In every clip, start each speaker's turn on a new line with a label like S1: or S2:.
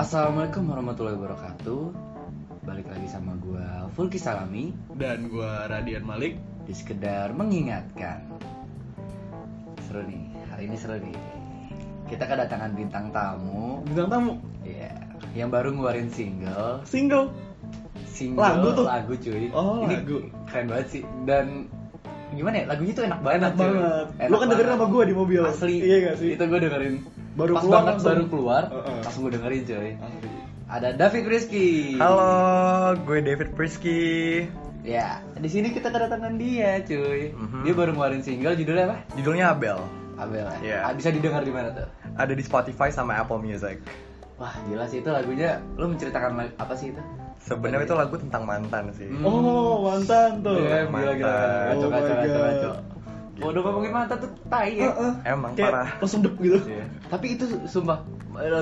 S1: Assalamualaikum warahmatullahi wabarakatuh. Balik lagi sama gua Fulki Salami
S2: dan gua Radian Malik
S1: di sekedar mengingatkan. Seru nih, hari ini seru nih. Kita kedatangan bintang tamu,
S2: bintang tamu
S1: ya, yang baru ngeluarin single,
S2: single
S1: single
S2: Lagu tuh.
S1: lagu cuy.
S2: Oh,
S1: ini
S2: lagu.
S1: keren banget sih dan gimana ya lagunya tuh enak banget
S2: enak
S1: cuy.
S2: banget
S1: Enak
S2: lu kan dengerin
S1: banget.
S2: sama gua di mobil
S1: asli
S2: iya gak sih
S1: itu gue dengerin
S2: Baru
S1: pas
S2: keluar
S1: banget
S2: langsung.
S1: baru keluar
S2: Heeh.
S1: langsung gue dengerin cuy
S2: Hmm.
S1: ada David Rizky
S3: Halo, gue David Prisky.
S1: ya di sini kita kedatangan dia cuy
S3: Mhm.
S1: dia baru ngeluarin single judulnya apa
S3: Judulnya Abel.
S1: Abel ya
S3: Iya.
S1: Ah, bisa didengar di mana tuh
S3: Ada di Spotify sama Apple Music.
S1: wah gila sih itu lagunya lu menceritakan la- apa sih itu
S3: Sebenarnya itu lagu tentang mantan sih.
S1: Hmm.
S2: oh mantan tuh
S1: Damn, gila gila
S3: Mantan.
S1: kacau
S2: Oh my
S1: kacau kacau
S2: God.
S1: kacau Waduh
S3: Gitu.
S1: ngomongin mantan tuh tai ya.
S2: Heeh.
S3: Emang
S2: Kayak
S3: parah.
S2: langsung dep gitu
S1: Iya. Tapi itu sumpah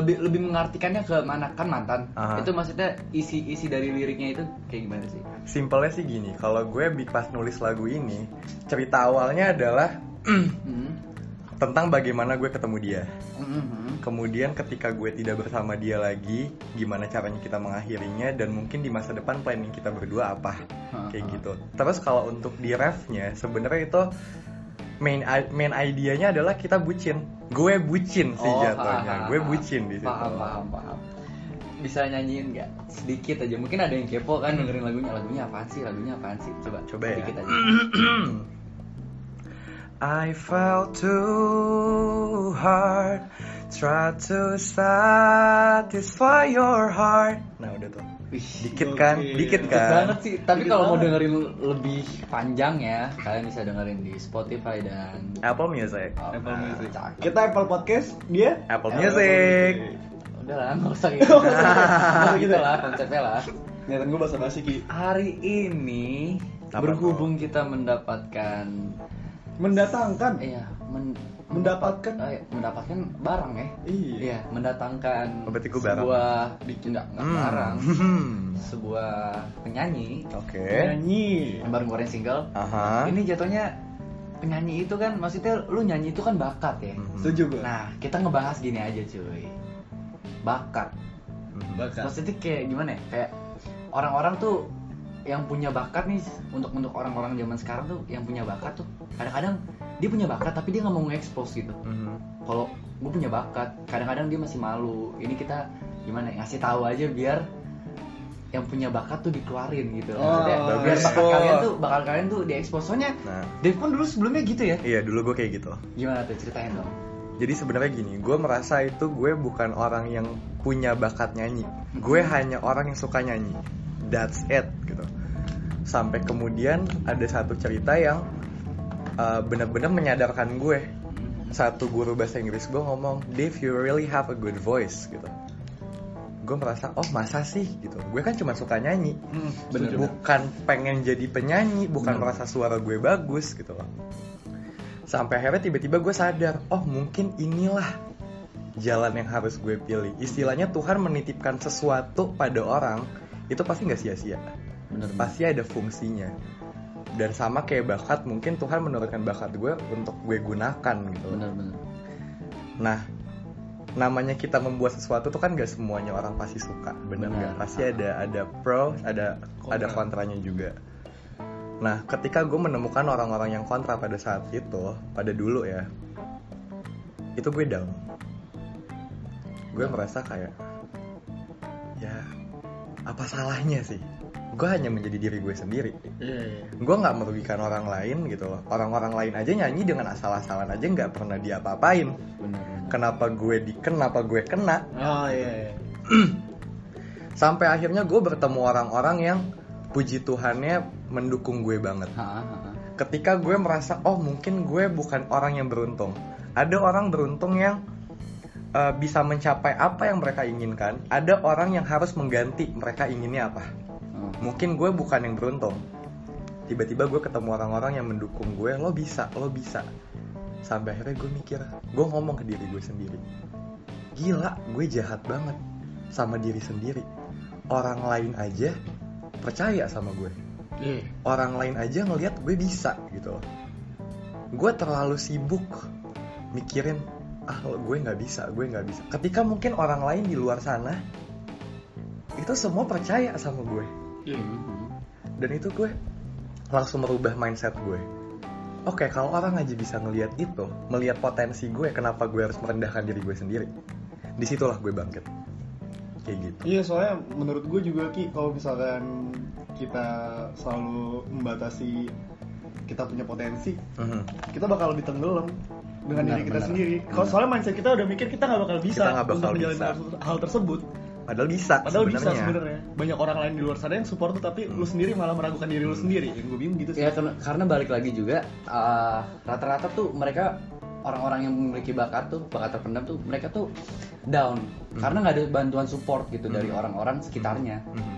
S1: lebih lebih mengartikannya ke mana kan mantan.
S3: Aha.
S1: Itu maksudnya isi isi dari liriknya itu kayak gimana sih?
S3: Simpelnya sih gini, kalau gue bi- pas nulis lagu ini, cerita awalnya adalah
S1: Hmm.
S3: tentang bagaimana gue ketemu dia.
S1: Mhm.
S3: Kemudian ketika gue tidak bersama dia lagi, gimana caranya kita mengakhirinya dan mungkin di masa depan planning kita berdua apa. Kayak gitu. Terus kalau untuk di refnya sebenarnya itu main main idenya adalah kita bucin. Gue bucin sih
S1: Oh, paham.
S3: jatuhnya. Gue bucin di situ.
S1: Paham, paham, paham. Bisa nyanyiin nggak? Sedikit aja. Mungkin ada yang kepo kan dengerin lagunya. Lagunya apaan sih? Lagunya apaan sih? Coba.
S3: Coba ya.
S1: sedikit aja.
S3: I fell too hard Try to satisfy your heart Nah udah tuh
S1: Wih.
S3: Dikit kan?
S2: Oke.
S3: Dikit
S1: Dikit banget
S3: kan?
S1: sih, tapi
S2: Dikit
S1: kalau mau
S2: banget.
S1: dengerin lebih panjang ya, kalian bisa dengerin di Spotify dan
S3: Apple Music
S1: Oh,
S2: Apple
S1: nah,
S2: Music
S1: cakep.
S2: kita Apple Podcast dia
S3: Apple
S1: Apple
S3: Music
S1: Udah lah, nggak usah gitu. Nggak usah gitu lah konsepnya lah.
S2: Niatan gue bahasa basi Ki
S1: Hari ini
S3: Apa
S1: berhubung kita mendapatkan,
S2: Mendatangkan
S1: iya, men-
S2: Mendapatkan.
S1: mendapat- eh, mendapatkan barang ya.
S2: Iya.
S1: Iya, mendatangkan
S3: Oh, berarti gua barang.
S1: sebuah enggak, enggak
S3: Hmm.
S1: barang,
S3: Hmm.
S1: sebuah penyanyi
S3: Oke
S2: Nyanyi
S1: yang baru ngeluarin single.
S3: Aha
S1: Ini jatuhnya penyanyi itu kan maksudnya lu nyanyi itu kan bakat ya.
S3: Mhm.
S2: Setuju gue
S1: Nah, kita ngebahas gini aja cuy. Bakat
S3: Mhm.
S2: Bakat
S1: maksudnya kayak gimana ya kayak orang-orang tuh yang punya bakat nih untuk untuk orang-orang zaman sekarang tuh yang punya bakat tuh kadang-kadang dia punya bakat tapi dia nggak mau nge-expose gitu
S3: Mhm.
S1: kalau gue punya bakat kadang-kadang dia masih malu ini kita gimana ya ngasih tahu aja biar yang punya bakat tuh dikeluarin gitu maksudnya biar
S2: Oh,
S3: bagus.
S1: bakat kalian tuh bakal kalian tuh diekspos soalnya
S3: Nah
S1: Dev pun dulu sebelumnya gitu ya
S3: Iya dulu gue kayak gitu
S1: gimana tuh ceritain dong
S3: Jadi sebenarnya gini, gue merasa itu gue bukan orang yang punya bakat nyanyi. Gue hanya orang yang suka nyanyi. That's it gitu. Sampai kemudian ada satu cerita yang uh, benar-benar menyadarkan gue. Satu guru bahasa Inggris gue ngomong, Dave you really have a good voice gitu. Gue merasa, oh masa sih gitu. Gue kan cuma suka nyanyi.
S2: Hmm,
S1: Bener.
S2: setuju.
S3: Bukan pengen jadi penyanyi, bukan
S1: Bener.
S3: merasa suara gue bagus gitu loh. Sampai akhirnya tiba-tiba gue sadar, oh mungkin inilah jalan yang harus gue pilih. Istilahnya Tuhan menitipkan sesuatu pada orang, itu pasti nggak sia-sia.
S1: bener
S3: Pasti ada fungsinya. Dan sama kayak bakat, mungkin Tuhan menurunkan bakat gue untuk gue gunakan gitu. loh.
S1: bener bener
S3: Nah, namanya kita membuat sesuatu tuh kan gak semuanya orang pasti suka,
S1: Benar.
S3: bener nggak? Pasti ada ada pro, ada
S2: Kontra.
S3: ada kontranya juga. Nah, ketika gue menemukan orang-orang yang kontra pada saat itu, pada dulu ya, itu gue down. Gue merasa kayak, ya apa salahnya sih? Gue hanya menjadi diri gue sendiri.
S2: Iya iya.
S3: Gue nggak merugikan orang lain gitu loh. Orang-orang lain aja nyanyi dengan asal-asalan aja nggak pernah diapa-apain
S1: bener bener
S3: kenapa gue di kenapa gue kena
S2: Oh iya iya.
S3: sampai akhirnya gue bertemu orang-orang yang puji Tuhannya mendukung gue banget
S1: Ha, ha, ha.
S3: ketika gue merasa oh mungkin gue bukan orang yang beruntung ada orang beruntung yang eh, bisa mencapai apa yang mereka inginkan ada orang yang harus mengganti mereka inginnya apa
S1: Hmm.
S3: mungkin gue bukan yang beruntung tiba-tiba gue ketemu orang-orang yang mendukung gue lo bisa lo bisa sampai akhirnya gue mikir gue ngomong ke diri gue sendiri gila gue jahat banget sama diri sendiri orang lain aja percaya sama gue
S2: Iya.
S3: orang lain aja ngelihat gue bisa gitu loh gue terlalu sibuk mikirin ah lo- gue nggak bisa gue nggak bisa ketika mungkin orang lain di luar sana itu semua percaya sama gue
S1: Iya.
S3: dan itu gue langsung merubah mindset gue oke kalau orang aja bisa ngelihat itu melihat potensi gue kenapa gue harus merendahkan diri gue sendiri disitulah gue bangkit kayak gitu
S2: Iya soalnya menurut gue juga Ki kalau misalkan kita selalu membatasi kita punya potensi
S3: Mhm.
S2: kita bakal lebih tenggelam dengan
S1: Benar,
S2: diri kita
S1: benar.
S2: sendiri. Kalau soalnya mindset kita udah mikir kita nggak bakal bisa
S3: Kita nggak bakal
S2: untuk menjalani
S3: bisa.
S2: hal, hal tersebut.
S3: padahal bisa
S2: Padahal bisa
S3: sebenarnya. Hmm.
S2: sebenarnya. Banyak orang lain di luar sana yang support tuh, tapi lu sendiri malah meragukan diri lu sendiri. Yang gue bingung gitu sih.
S1: Ya karena, karena balik lagi juga eh, rata-rata tuh mereka orang-orang yang memiliki bakat tuh bakat terpendam tuh mereka tuh down karena nggak ada bantuan support gitu dari orang-orang sekitarnya
S3: Mhm.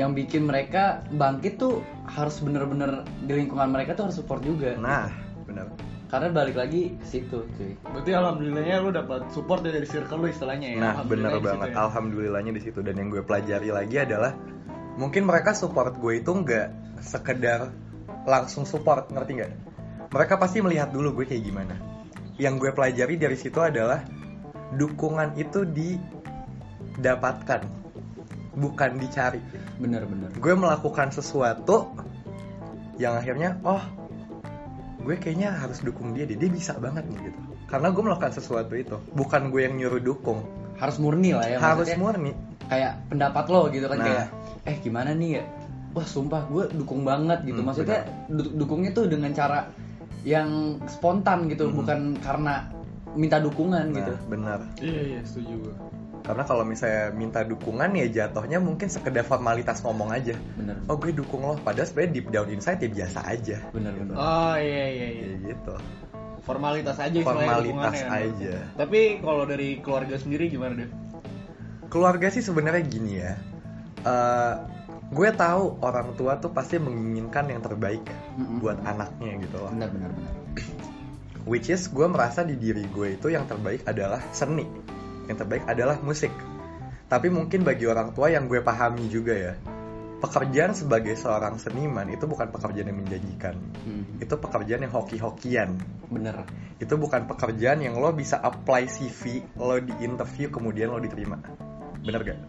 S1: yang bikin mereka bangkit tuh harus bener-bener di lingkungan mereka tuh harus support juga
S3: nah benar
S1: karena balik lagi ke situ cuy
S2: Berarti alhamdulillahnya lu dapat support dari circle lu istilahnya ya.
S3: Nah,
S2: Alhamdulillah
S3: bener
S2: di situ
S3: banget.
S2: ya.
S3: Alhamdulillahnya di situ. Dan yang gue pelajari lagi adalah mungkin mereka support gue itu nggak sekedar langsung support, ngerti nggak? Mereka pasti melihat dulu gue kayak gimana. Yang gue pelajari dari situ adalah dukungan itu didapatkan, bukan dicari.
S1: bener-bener
S3: Gue melakukan sesuatu yang akhirnya, oh, gue kayaknya harus dukung dia deh. Dia bisa banget nih gitu. Karena gue melakukan sesuatu itu, bukan gue yang nyuruh dukung,
S1: harus murni lah ya
S3: harus
S1: maksudnya.
S3: murni.
S1: kayak pendapat lo gitu kan
S3: Nah.
S1: kayak eh gimana nih ya wah sumpah gue dukung banget gitu
S3: Hmm,
S1: maksudnya du- dukungnya tuh dengan cara yang spontan gitu
S3: Hmm.
S1: bukan karena minta dukungan gitu
S3: Nah, benar.
S2: Iya iya setuju gue.
S3: Karena kalau misalnya minta dukungan ya jatuhnya mungkin sekedar formalitas ngomong aja.
S1: bener
S3: Oh gue dukung lo, padahal sebenarnya deep down inside ya biasa aja.
S1: bener bener
S2: Oh iya iya iya.
S3: Ya gitu.
S2: Formalitas aja istilahnya
S3: Formalitas
S2: dukungannya.
S3: aja.
S2: Tapi kalau dari keluarga sendiri gimana deh?
S3: Keluarga sih sebenarnya gini ya. Eh, gue tahu orang tua tuh pasti menginginkan yang terbaik ya
S1: Mm-mm.
S3: buat anaknya gitu loh.
S1: bener bener bener
S3: Which is gue merasa di diri gue itu yang terbaik adalah seni, yang terbaik adalah musik. Tapi mungkin bagi orang tua yang gue pahami juga ya, pekerjaan sebagai seorang seniman itu bukan pekerjaan yang menjanjikan.
S1: Hmm,
S3: Itu pekerjaan yang hoki-hokian.
S1: bener
S3: Itu bukan pekerjaan yang lo bisa apply CV, lo di interview kemudian lo diterima. Bener gak?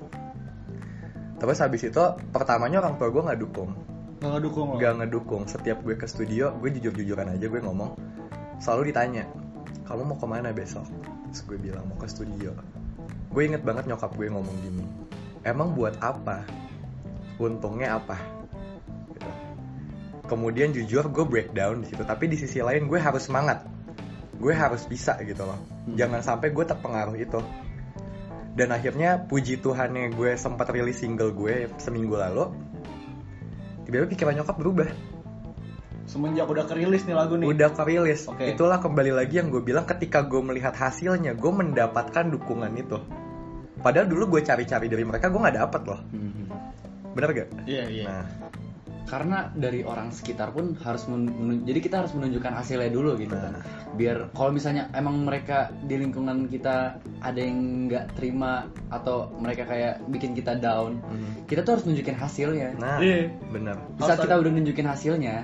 S3: Terus habis itu pertamanya orang tua gue nggak dukung
S2: Nggak ngedukung lo?
S3: gak ngedukung setiap gue ke studio gue jujur jujuran aja gue ngomong selalu ditanya kamu mau kemana besok terus gue bilang mau ke studio gue inget banget nyokap gue ngomong gini emang buat apa untungnya apa Gitu. kemudian jujur gue breakdown di situ tapi di sisi lain gue harus semangat gue harus bisa gitu loh jangan sampai gue terpengaruh itu dan akhirnya puji Tuhannya gue sempat rilis single gue seminggu lalu tiba-tiba pikiran nyokap berubah
S2: Semenjak udah kerilis nih lagu nih.
S3: udah kerilis
S2: Oke.
S3: itulah kembali lagi yang gue bilang ketika gue melihat hasilnya gue mendapatkan dukungan itu padahal dulu gue cari-cari dari mereka gue nggak dapet loh
S1: Hmm.
S3: bener gak
S2: Iya iya.
S3: nah
S1: karena dari orang sekitar pun harus men- menun- jadi kita harus menunjukkan hasilnya dulu gitu kan
S3: Nah.
S1: biar kalau misalnya emang mereka di lingkungan kita ada yang nggak terima atau mereka kayak bikin kita down
S3: Mhm.
S1: kita tuh harus nunjukin hasilnya
S3: nah
S2: Iya.
S3: bener
S1: di saat kita udah nunjukin hasilnya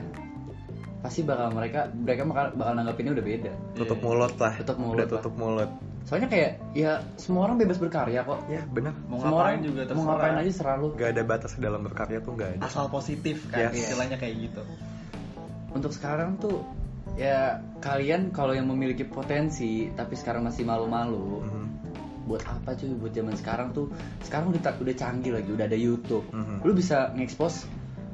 S1: pasti bakal mereka mereka bakal, bakal nanggapinnya udah beda
S3: tutup mulut lah
S1: Tutup mulut
S3: udah
S1: lah.
S3: tutup mulut
S1: soalnya kayak ya semua orang bebas berkarya kok
S3: ya bener
S2: Mau
S1: semua
S2: ngapain
S1: orang
S2: juga
S1: mau
S2: terserah.
S1: ngapain aja serah lu
S3: gak ada batas dalam berkarya tuh gak ada
S2: Asal positif kan
S3: Yes.
S2: istilahnya kayak gitu.
S1: untuk sekarang tuh ya kalian kalau yang memiliki potensi tapi sekarang masih malu-malu
S3: Mhm.
S1: buat apa cuy buat zaman sekarang tuh sekarang udah udah canggih lagi udah ada YouTube
S3: Mhm.
S1: lu bisa ngekspos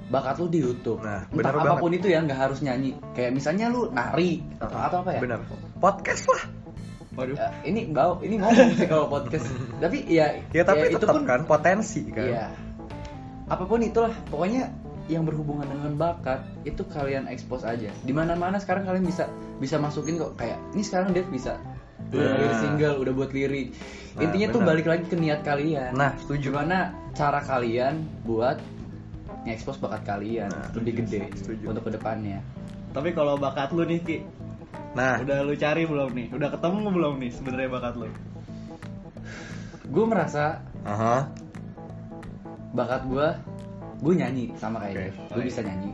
S1: bakat lu di YouTube entah
S3: Nah, bener banget.
S1: apapun itu ya nggak harus nyanyi kayak misalnya lu nari atau, atau apa ya
S3: bener podcast lah
S2: Waduh.
S1: Ya, ini bau ini ngomong sih kalau podcast tapi ya
S3: ya tapi
S1: ya, itu
S3: tetap
S1: pun
S3: kan potensi kan
S1: ya apapun itulah pokoknya yang berhubungan dengan bakat itu kalian expose aja di mana mana sekarang kalian bisa bisa masukin kok kayak ini sekarang Dev bisa udah
S3: Nah.
S1: rilis single udah buat lirik
S3: Nah,
S1: intinya tuh
S3: benar.
S1: balik lagi ke niat kalian
S3: nah setuju
S1: gimana cara kalian buat nge-expose bakat kalian
S3: Nah,
S1: lebih gede
S3: setuju.
S1: untuk kedepannya
S2: Tapi kalau bakat lu nih Ki,
S3: nah
S2: udah lu cari belum nih? Udah ketemu belum nih sebenarnya bakat lu?
S3: Ya.
S1: gue merasa
S3: aha.
S1: bakat gue gue nyanyi sama
S3: Oke.
S1: kayak Dev gue bisa nyanyi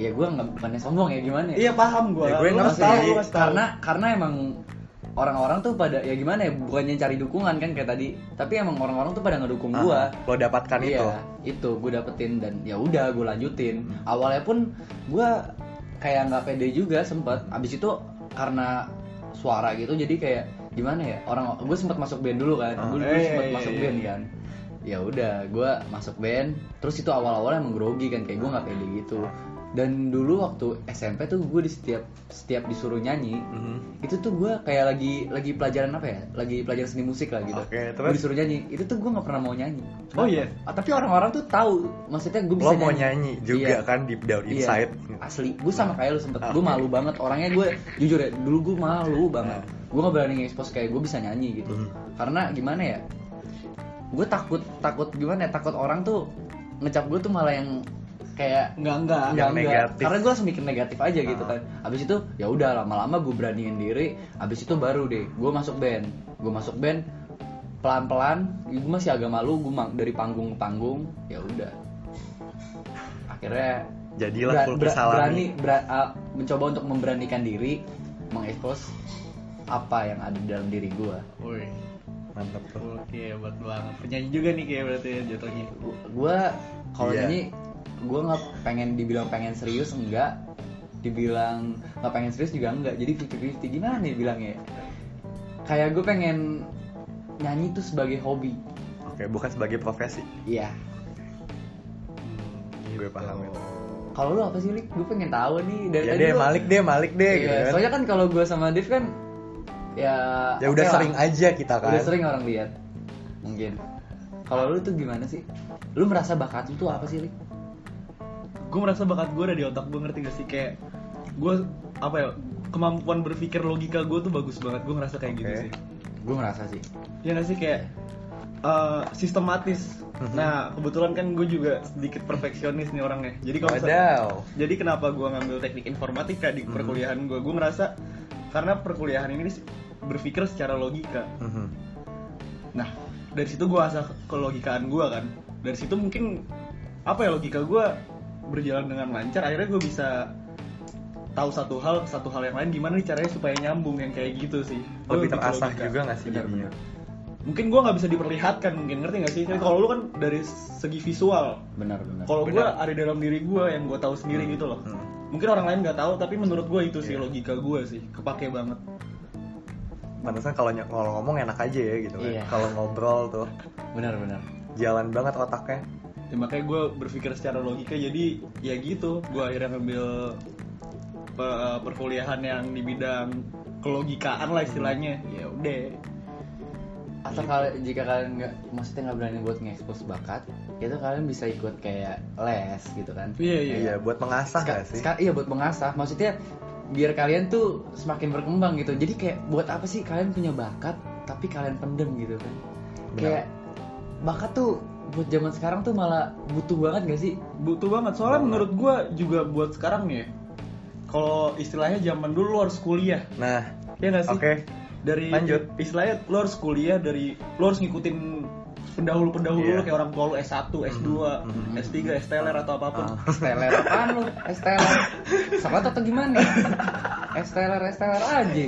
S1: ya gue nggak bukannya sombong ya gimana ya
S2: Iya paham gua.
S3: Ya, gue
S2: Lu
S3: ngerti.
S2: ngasih tahu, lu ngasih tahu.
S1: karena karena emang orang-orang tuh pada ya gimana ya bukannya cari dukungan kan kayak tadi tapi emang orang-orang tuh pada ngedukung gua
S3: Ah, lo dapatkan itu
S1: iya, itu gue dapetin dan ya udah gue lanjutin awalnya pun gue kayak nggak pede juga sempet abis itu karena suara gitu jadi kayak gimana ya orang gue sempet masuk band dulu kan
S3: Ah,
S1: gue
S2: eh,
S1: sempet
S2: iya,
S1: masuk
S2: iya.
S1: band kan ya udah gue masuk band terus itu awal-awalnya emang grogi kan kayak gue nggak pede gitu dan dulu waktu SMP tuh gue di setiap setiap disuruh nyanyi
S3: Mhm.
S1: itu tuh gue kayak lagi lagi pelajaran apa ya lagi pelajaran seni musik lah gitu
S3: Oke, terus?
S1: gue disuruh nyanyi itu tuh gue nggak pernah mau nyanyi
S2: Oh iya?
S1: Ah, tapi orang-orang tuh tahu maksudnya gue
S3: lo
S1: bisa
S3: mau nyanyi juga kan deep down
S1: Iya,
S3: inside Ah.
S1: asli gue sama kayak lu sempet gue
S3: Oke.
S1: malu banget orangnya gue jujur ya dulu gue malu banget
S3: Nah.
S1: gue nggak berani nge-expose kayak gue bisa nyanyi gitu
S3: Mhm.
S1: karena gimana ya gue takut takut gimana ya takut orang tuh ngecap gue tuh malah yang kayak
S2: Enggak, enggak.
S1: Enggak,
S3: Yang
S1: enggak.
S3: negatif.
S1: Karena gue langsung mikir negatif aja gitu
S3: Ah.
S1: kan. Abis itu ya udah lama-lama gue beraniin diri. Abis itu baru deh gue masuk band. Gue masuk band pelan-pelan. Gue masih agak malu. Gue ma- dari panggung ke panggung. Ya udah. Akhirnya bera-
S3: jadilah full
S1: bera- berani
S3: bersalami
S1: bera- uh, mencoba untuk memberanikan diri, mengekspos apa yang ada dalam diri gue.
S2: Woi,
S3: mantep tuh
S2: oke hebat banget. Penyanyi juga nih kayak berarti ya jatuhnya.
S1: gue kalau
S3: Iya.
S1: nyanyi gue nggak pengen dibilang pengen serius enggak dibilang nggak pengen serius juga enggak jadi 50-50 gimana nih bilangnya kayak gue pengen nyanyi itu sebagai hobi
S3: oke bukan sebagai profesi
S1: iya
S3: gue paham itu
S1: kalau lu apa sih Lik? gue pengen tahu nih dari
S3: ya
S1: tadi
S3: deh
S1: lu-
S3: malik deh malik deh
S1: Iya,
S3: gitu kan.
S1: soalnya kan kalau gue sama Dev kan ya
S3: ya udah
S1: oke lah.
S3: sering aja kita kan
S1: udah sering orang lihat mungkin kalau lu tuh gimana sih lu merasa bakat lu tuh apa sih Lik?
S2: Gue merasa bakat gue ada di otak gue ngerti gak sih kayak gue apa ya kemampuan berpikir logika gue tuh bagus banget gue ngerasa kayak gitu
S3: Oke.
S2: sih
S1: gue merasa sih
S2: ya nggak sih kayak eh, sistematis
S3: Mhm.
S2: nah kebetulan kan gue juga sedikit perfeksionis nih orangnya jadi kalau misal-
S3: Wadaw.
S2: jadi kenapa gue ngambil teknik informatika
S3: Mhm.
S2: di perkuliahan gue gue ngerasa karena perkuliahan ini sih berpikir secara logika
S3: Mhm.
S2: nah dari situ gue asah kelogikaan gue kan dari situ mungkin apa ya logika gue berjalan dengan lancar akhirnya gue bisa tahu satu hal satu hal yang lain gimana nih caranya supaya nyambung yang kayak gitu sih Gua
S3: lebih
S2: ke
S3: terasah gitu.
S2: logika.
S3: juga nggak sih jadinya
S2: mungkin gue nggak bisa diperlihatkan mungkin ngerti nggak sih Kan kalau lu kan dari segi visual
S1: benar-benar
S2: kalau gue
S3: Benar.
S2: ada dalam diri gue yang gue tahu sendiri gitu loh
S3: Hmm. Iya.
S2: mungkin orang lain nggak tahu tapi menurut gue itu sih logika gue sih kepake banget
S3: Pantesan kalau ny- kalau ngomong enak aja ya gitu kan.
S1: Iya.
S3: Kalau ngobrol tuh
S1: benar-benar
S3: jalan banget otaknya.
S2: ya, makanya gue berpikir secara logika jadi ya gitu gue akhirnya ngambil pe- perkuliahan yang di bidang kelogikaan lah istilahnya
S3: Hmm.
S2: ya udah
S1: atau kalau jika kalian nggak maksudnya nggak berani buat nge-expose bakat itu kalian bisa ikut kayak les gitu kan
S2: Iya, iya,
S1: Kayak-
S3: Iya, buat mengasah
S1: Seka-
S3: gak sih?
S1: seka- iya buat mengasah maksudnya biar kalian tuh semakin berkembang gitu jadi kayak buat apa sih kalian punya bakat tapi kalian pendem gitu kan
S3: Benar.
S1: kayak bakat tuh buat zaman sekarang tuh malah butuh banget gak sih
S2: butuh banget soalnya
S3: Banget.
S2: menurut gue juga buat sekarang nih ya, kalau istilahnya zaman dulu lu harus kuliah
S3: Nah,
S2: ya nggak sih
S3: oke.
S2: dari
S3: Lanjut.
S2: istilahnya lo harus kuliah dari lo harus ngikutin pendahulu-pendahulu
S3: Iya.
S2: lo kayak orang tua lo S1, S2,
S3: Mhm.
S2: S3, S-teler atau apapun.
S3: Ah.
S1: Esteler apaan lu? Esteler Salah atau gimana? Esteler, Esteler aja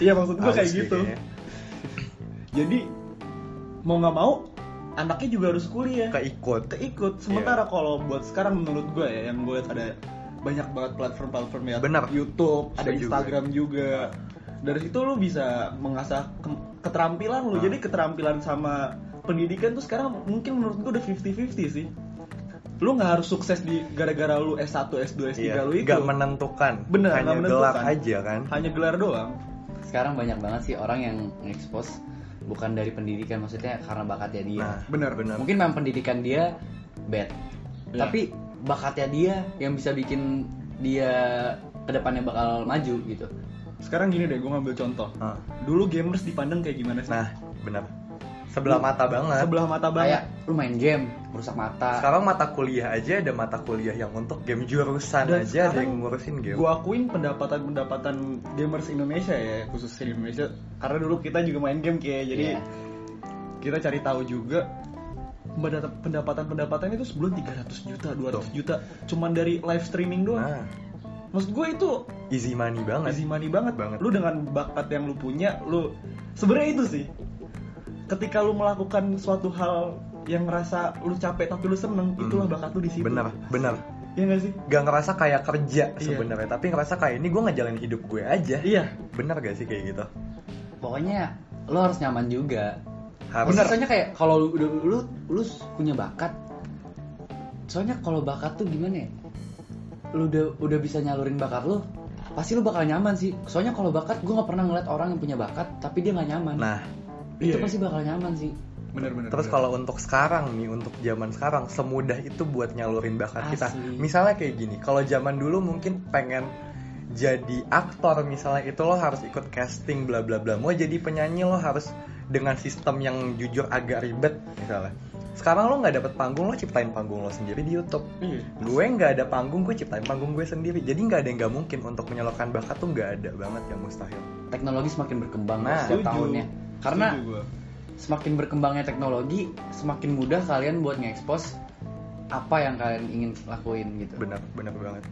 S2: Iya maksud gue
S3: Aus
S2: kayak
S3: sih
S2: gitu.
S3: kayaknya.
S2: Jadi mau nggak mau anaknya juga harus kuliah.
S3: Keikut. Iya.
S2: Keikut. Sementara kalau buat sekarang menurut gue ya yang gue lihat ada banyak banget platform-platform ya.
S3: Benar.
S2: YouTube, ada
S3: Setuju.
S2: Instagram juga. Dari situ lo bisa mengasah ke- keterampilan lo.
S3: Ah.
S2: Jadi keterampilan sama pendidikan tuh sekarang mungkin menurut gue udah 50-50 sih. Lu nggak harus sukses di gara-gara lu S1, S2, S3
S3: Iya,
S2: lu itu.
S3: nggak menentukan.
S2: Bener,
S3: Hanya
S2: nggak
S3: gelar
S2: menentukan.
S3: aja kan.
S2: Hanya gelar doang.
S1: sekarang banyak banget sih orang yang expose bukan dari pendidikan maksudnya karena bakatnya dia
S3: Nah,
S2: Iya, Benar.
S3: benar.
S1: mungkin memang pendidikan dia bad
S2: Ya.
S1: tapi bakatnya dia yang bisa bikin dia kedepannya bakal maju gitu
S2: Sekarang gini deh, gue ngambil contoh.
S3: Ah,
S2: Dulu gamers dipandang kayak gimana sih?
S3: Nah, benar. Sebelah mata banget.
S2: Sebelah mata
S1: kayak
S2: banget.
S1: lu main game rusak mata
S3: Sekarang mata kuliah aja ada mata kuliah yang untuk game jurusan
S2: Dan
S3: aja ada
S2: sekarang
S3: yang ngurusin game.
S2: Gue akuin pendapatan-pendapatan gamers Indonesia ya, khususnya di Indonesia. Karena dulu kita juga main game kayak, jadi
S1: Iya.
S2: kita cari tahu juga pendata- pendapatan-pendapatan itu sebelum 300 juta, 200 juta cuman dari live streaming doang.
S3: Nah,
S2: maksud gue itu
S3: easy money banget
S2: easy money banget
S3: Banget.
S2: lu dengan bakat yang lu punya lu sebenarnya itu sih ketika lu melakukan suatu hal yang ngerasa lu capek tapi lu seneng
S3: Hmm.
S2: itulah bakat lu di situ
S3: bener bener
S2: Iya gak sih
S3: gak ngerasa kayak kerja
S2: Iya.
S3: sebenarnya tapi ngerasa kayak ini gue ngejalanin hidup gue aja
S2: iya
S3: bener gak sih kayak gitu
S1: pokoknya lo harus nyaman juga
S3: harus
S1: Maksudnya Soalnya kayak kalau lu, lu, lu, lu punya bakat. Soalnya kalau bakat tuh gimana ya? Lu udah udah bisa nyalurin bakat lu, pasti lu bakal nyaman sih. Soalnya kalau bakat gue nggak pernah ngeliat orang yang punya bakat tapi dia nggak nyaman.
S3: nah
S1: itu
S2: iya.
S1: pasti bakal nyaman sih.
S2: bener bener
S3: Terus kalau untuk sekarang nih, untuk zaman sekarang semudah itu buat nyalurin bakat kita.
S1: Asli.
S3: Misalnya kayak gini, kalau zaman dulu mungkin pengen jadi aktor misalnya itu lo harus ikut casting bla bla bla. Mau jadi penyanyi lo harus dengan sistem yang jujur agak ribet misalnya. Sekarang lo nggak dapet panggung lo ciptain panggung lo sendiri di YouTube.
S2: iya.
S3: Gue nggak ada panggung gue ciptain panggung gue sendiri. Jadi nggak ada yang nggak mungkin untuk menyalurkan bakat tuh nggak ada banget yang mustahil.
S1: Teknologi semakin berkembang
S3: Nah,
S1: setiap
S2: Setuju.
S1: tahunnya. Karena
S2: Setuju gua.
S1: semakin berkembangnya teknologi, semakin mudah kalian buat nge-expose apa yang kalian ingin lakuin gitu.
S3: Benar benar banget.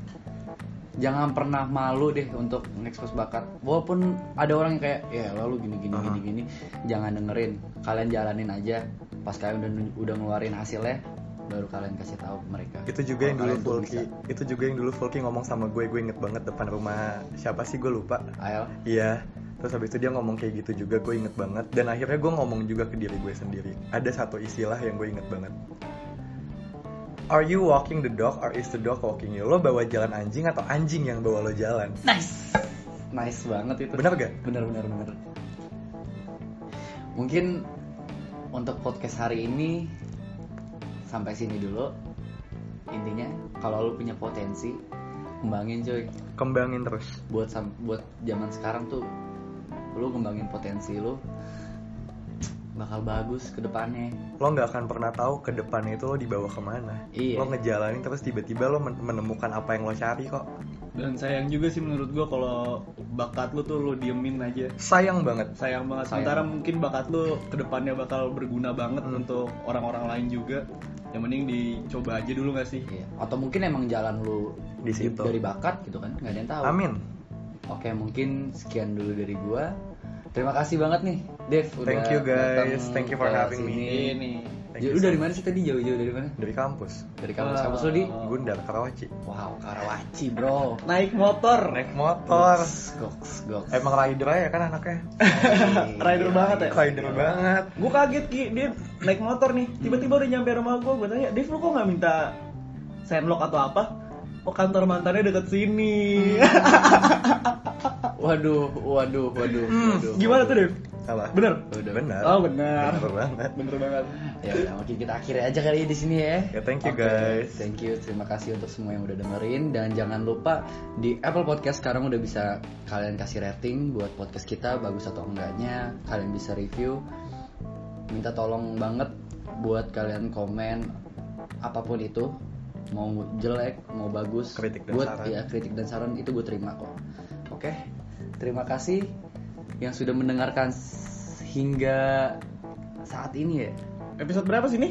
S1: jangan pernah malu deh untuk nge-expose bakat walaupun ada orang yang kayak ya lalu gini gini
S3: Aha.
S1: gini gini jangan dengerin kalian jalanin aja pas kalian udah udah ngeluarin hasilnya baru kalian kasih tahu ke mereka
S3: itu juga yang
S1: Kalau
S3: dulu
S1: kalian tuh
S3: Fulki
S1: bisa.
S3: itu juga yang dulu Fulki ngomong sama gue gue inget banget depan rumah siapa sih gue lupa
S1: Ael
S3: iya terus habis itu dia ngomong kayak gitu juga gue inget banget dan akhirnya gue ngomong juga ke diri gue sendiri ada satu istilah yang gue inget banget Are you walking the dog or is the dog walking you? Lo bawa jalan anjing atau anjing yang bawa lo jalan?
S1: nice nice banget itu
S3: Benar gak?
S1: bener bener bener mungkin untuk podcast hari ini sampai sini dulu intinya kalau lu punya potensi kembangin cuy
S3: Kembangin terus.
S1: buat sam- buat zaman sekarang tuh lu ngembangin potensi lu bakal bagus ke depannya
S3: Lo nggak akan pernah tahu ke depannya itu lo dibawa kemana.
S1: Iya.
S3: Lo ngejalanin terus tiba-tiba lo men- menemukan apa yang lo cari kok.
S2: dan sayang juga sih menurut gua kalau bakat lu tuh lu diemin aja
S3: Sayang banget.
S2: sayang banget
S1: Sayang.
S2: sementara mungkin bakat lu kedepannya bakal berguna banget
S3: Hmm.
S2: untuk orang-orang lain juga yang mending dicoba aja dulu gak sih
S1: Iya. atau mungkin emang jalan lu
S3: Di
S1: di-
S3: situ.
S1: dari bakat gitu kan nggak ada yang tahu
S3: Amin.
S1: oke mungkin sekian dulu dari gua terima kasih banget nih Dev udah
S3: Thank you, guys.
S1: datang
S3: Thank you for
S1: ke
S3: having me.
S1: sini.
S2: ini
S3: Thank
S1: Jauh- lu
S3: you so
S1: dari
S3: much.
S1: mana sih tadi jauh-jauh dari mana
S3: dari kampus
S1: dari kampus
S2: Ah.
S1: kampus lu di
S2: Oh.
S3: Gundar Karawaci
S1: wow Karawaci bro
S2: naik motor
S3: naik motor
S1: goks goks
S3: emang rider aja kan anaknya
S2: rider banget ya?
S3: rider banget
S2: gue kaget Ki, dia naik motor nih tiba-tiba udah nyampe rumah gue gue tanya Dev lu kok nggak minta sandlock atau apa Oh kantor mantannya deket sini
S1: waduh waduh waduh,
S3: Hmm,
S1: waduh
S2: Gimana tuh
S1: waduh.
S2: Dev?
S3: apa
S2: Bener?
S1: Udah.
S3: benar
S2: Oh bener
S3: Bener banget
S2: Bener banget
S1: ya udah mungkin kita akhiri aja kali di sini ya
S3: ya thank you
S1: Oke,
S3: guys
S1: Thank you, terima kasih untuk semua yang udah dengerin dan jangan lupa di Apple Podcast sekarang udah bisa kalian kasih rating buat podcast kita bagus atau enggaknya, kalian bisa review. Minta tolong banget buat kalian komen apapun itu mau jelek mau bagus
S3: Kritik dan
S1: buat
S3: saran.
S1: ya kritik dan saran itu gue terima kok oke terima kasih yang sudah mendengarkan s- hingga saat ini ya
S2: Episode berapa sih ini?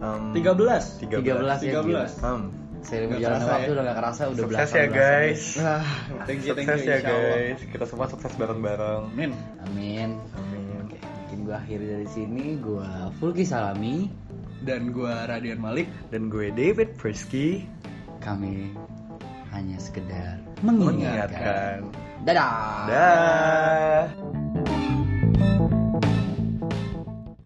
S3: um,
S2: 13
S1: 13.
S3: 13
S1: ya,
S2: 13
S3: um,
S1: saya
S2: Nggak
S1: berjalan
S2: kerasa
S1: waktu
S2: ya.
S1: udah gak kerasa udah
S3: sukses
S1: belasan-
S3: ya
S1: belasan.
S3: guys
S2: Ah, Thank you, thank you,
S3: sukses ya
S2: insya Allah.
S3: guys kita semua sukses bareng-bareng
S2: Amin
S1: amin
S3: amin
S1: Oke, mungkin gue akhiri dari sini. Gue Fulki Salami.
S2: Dan gue Radian Malik
S3: dan gue David Persky
S1: Kami hanya sekedar mengingatkan.
S3: mengingatkan
S1: Dadah.
S3: dah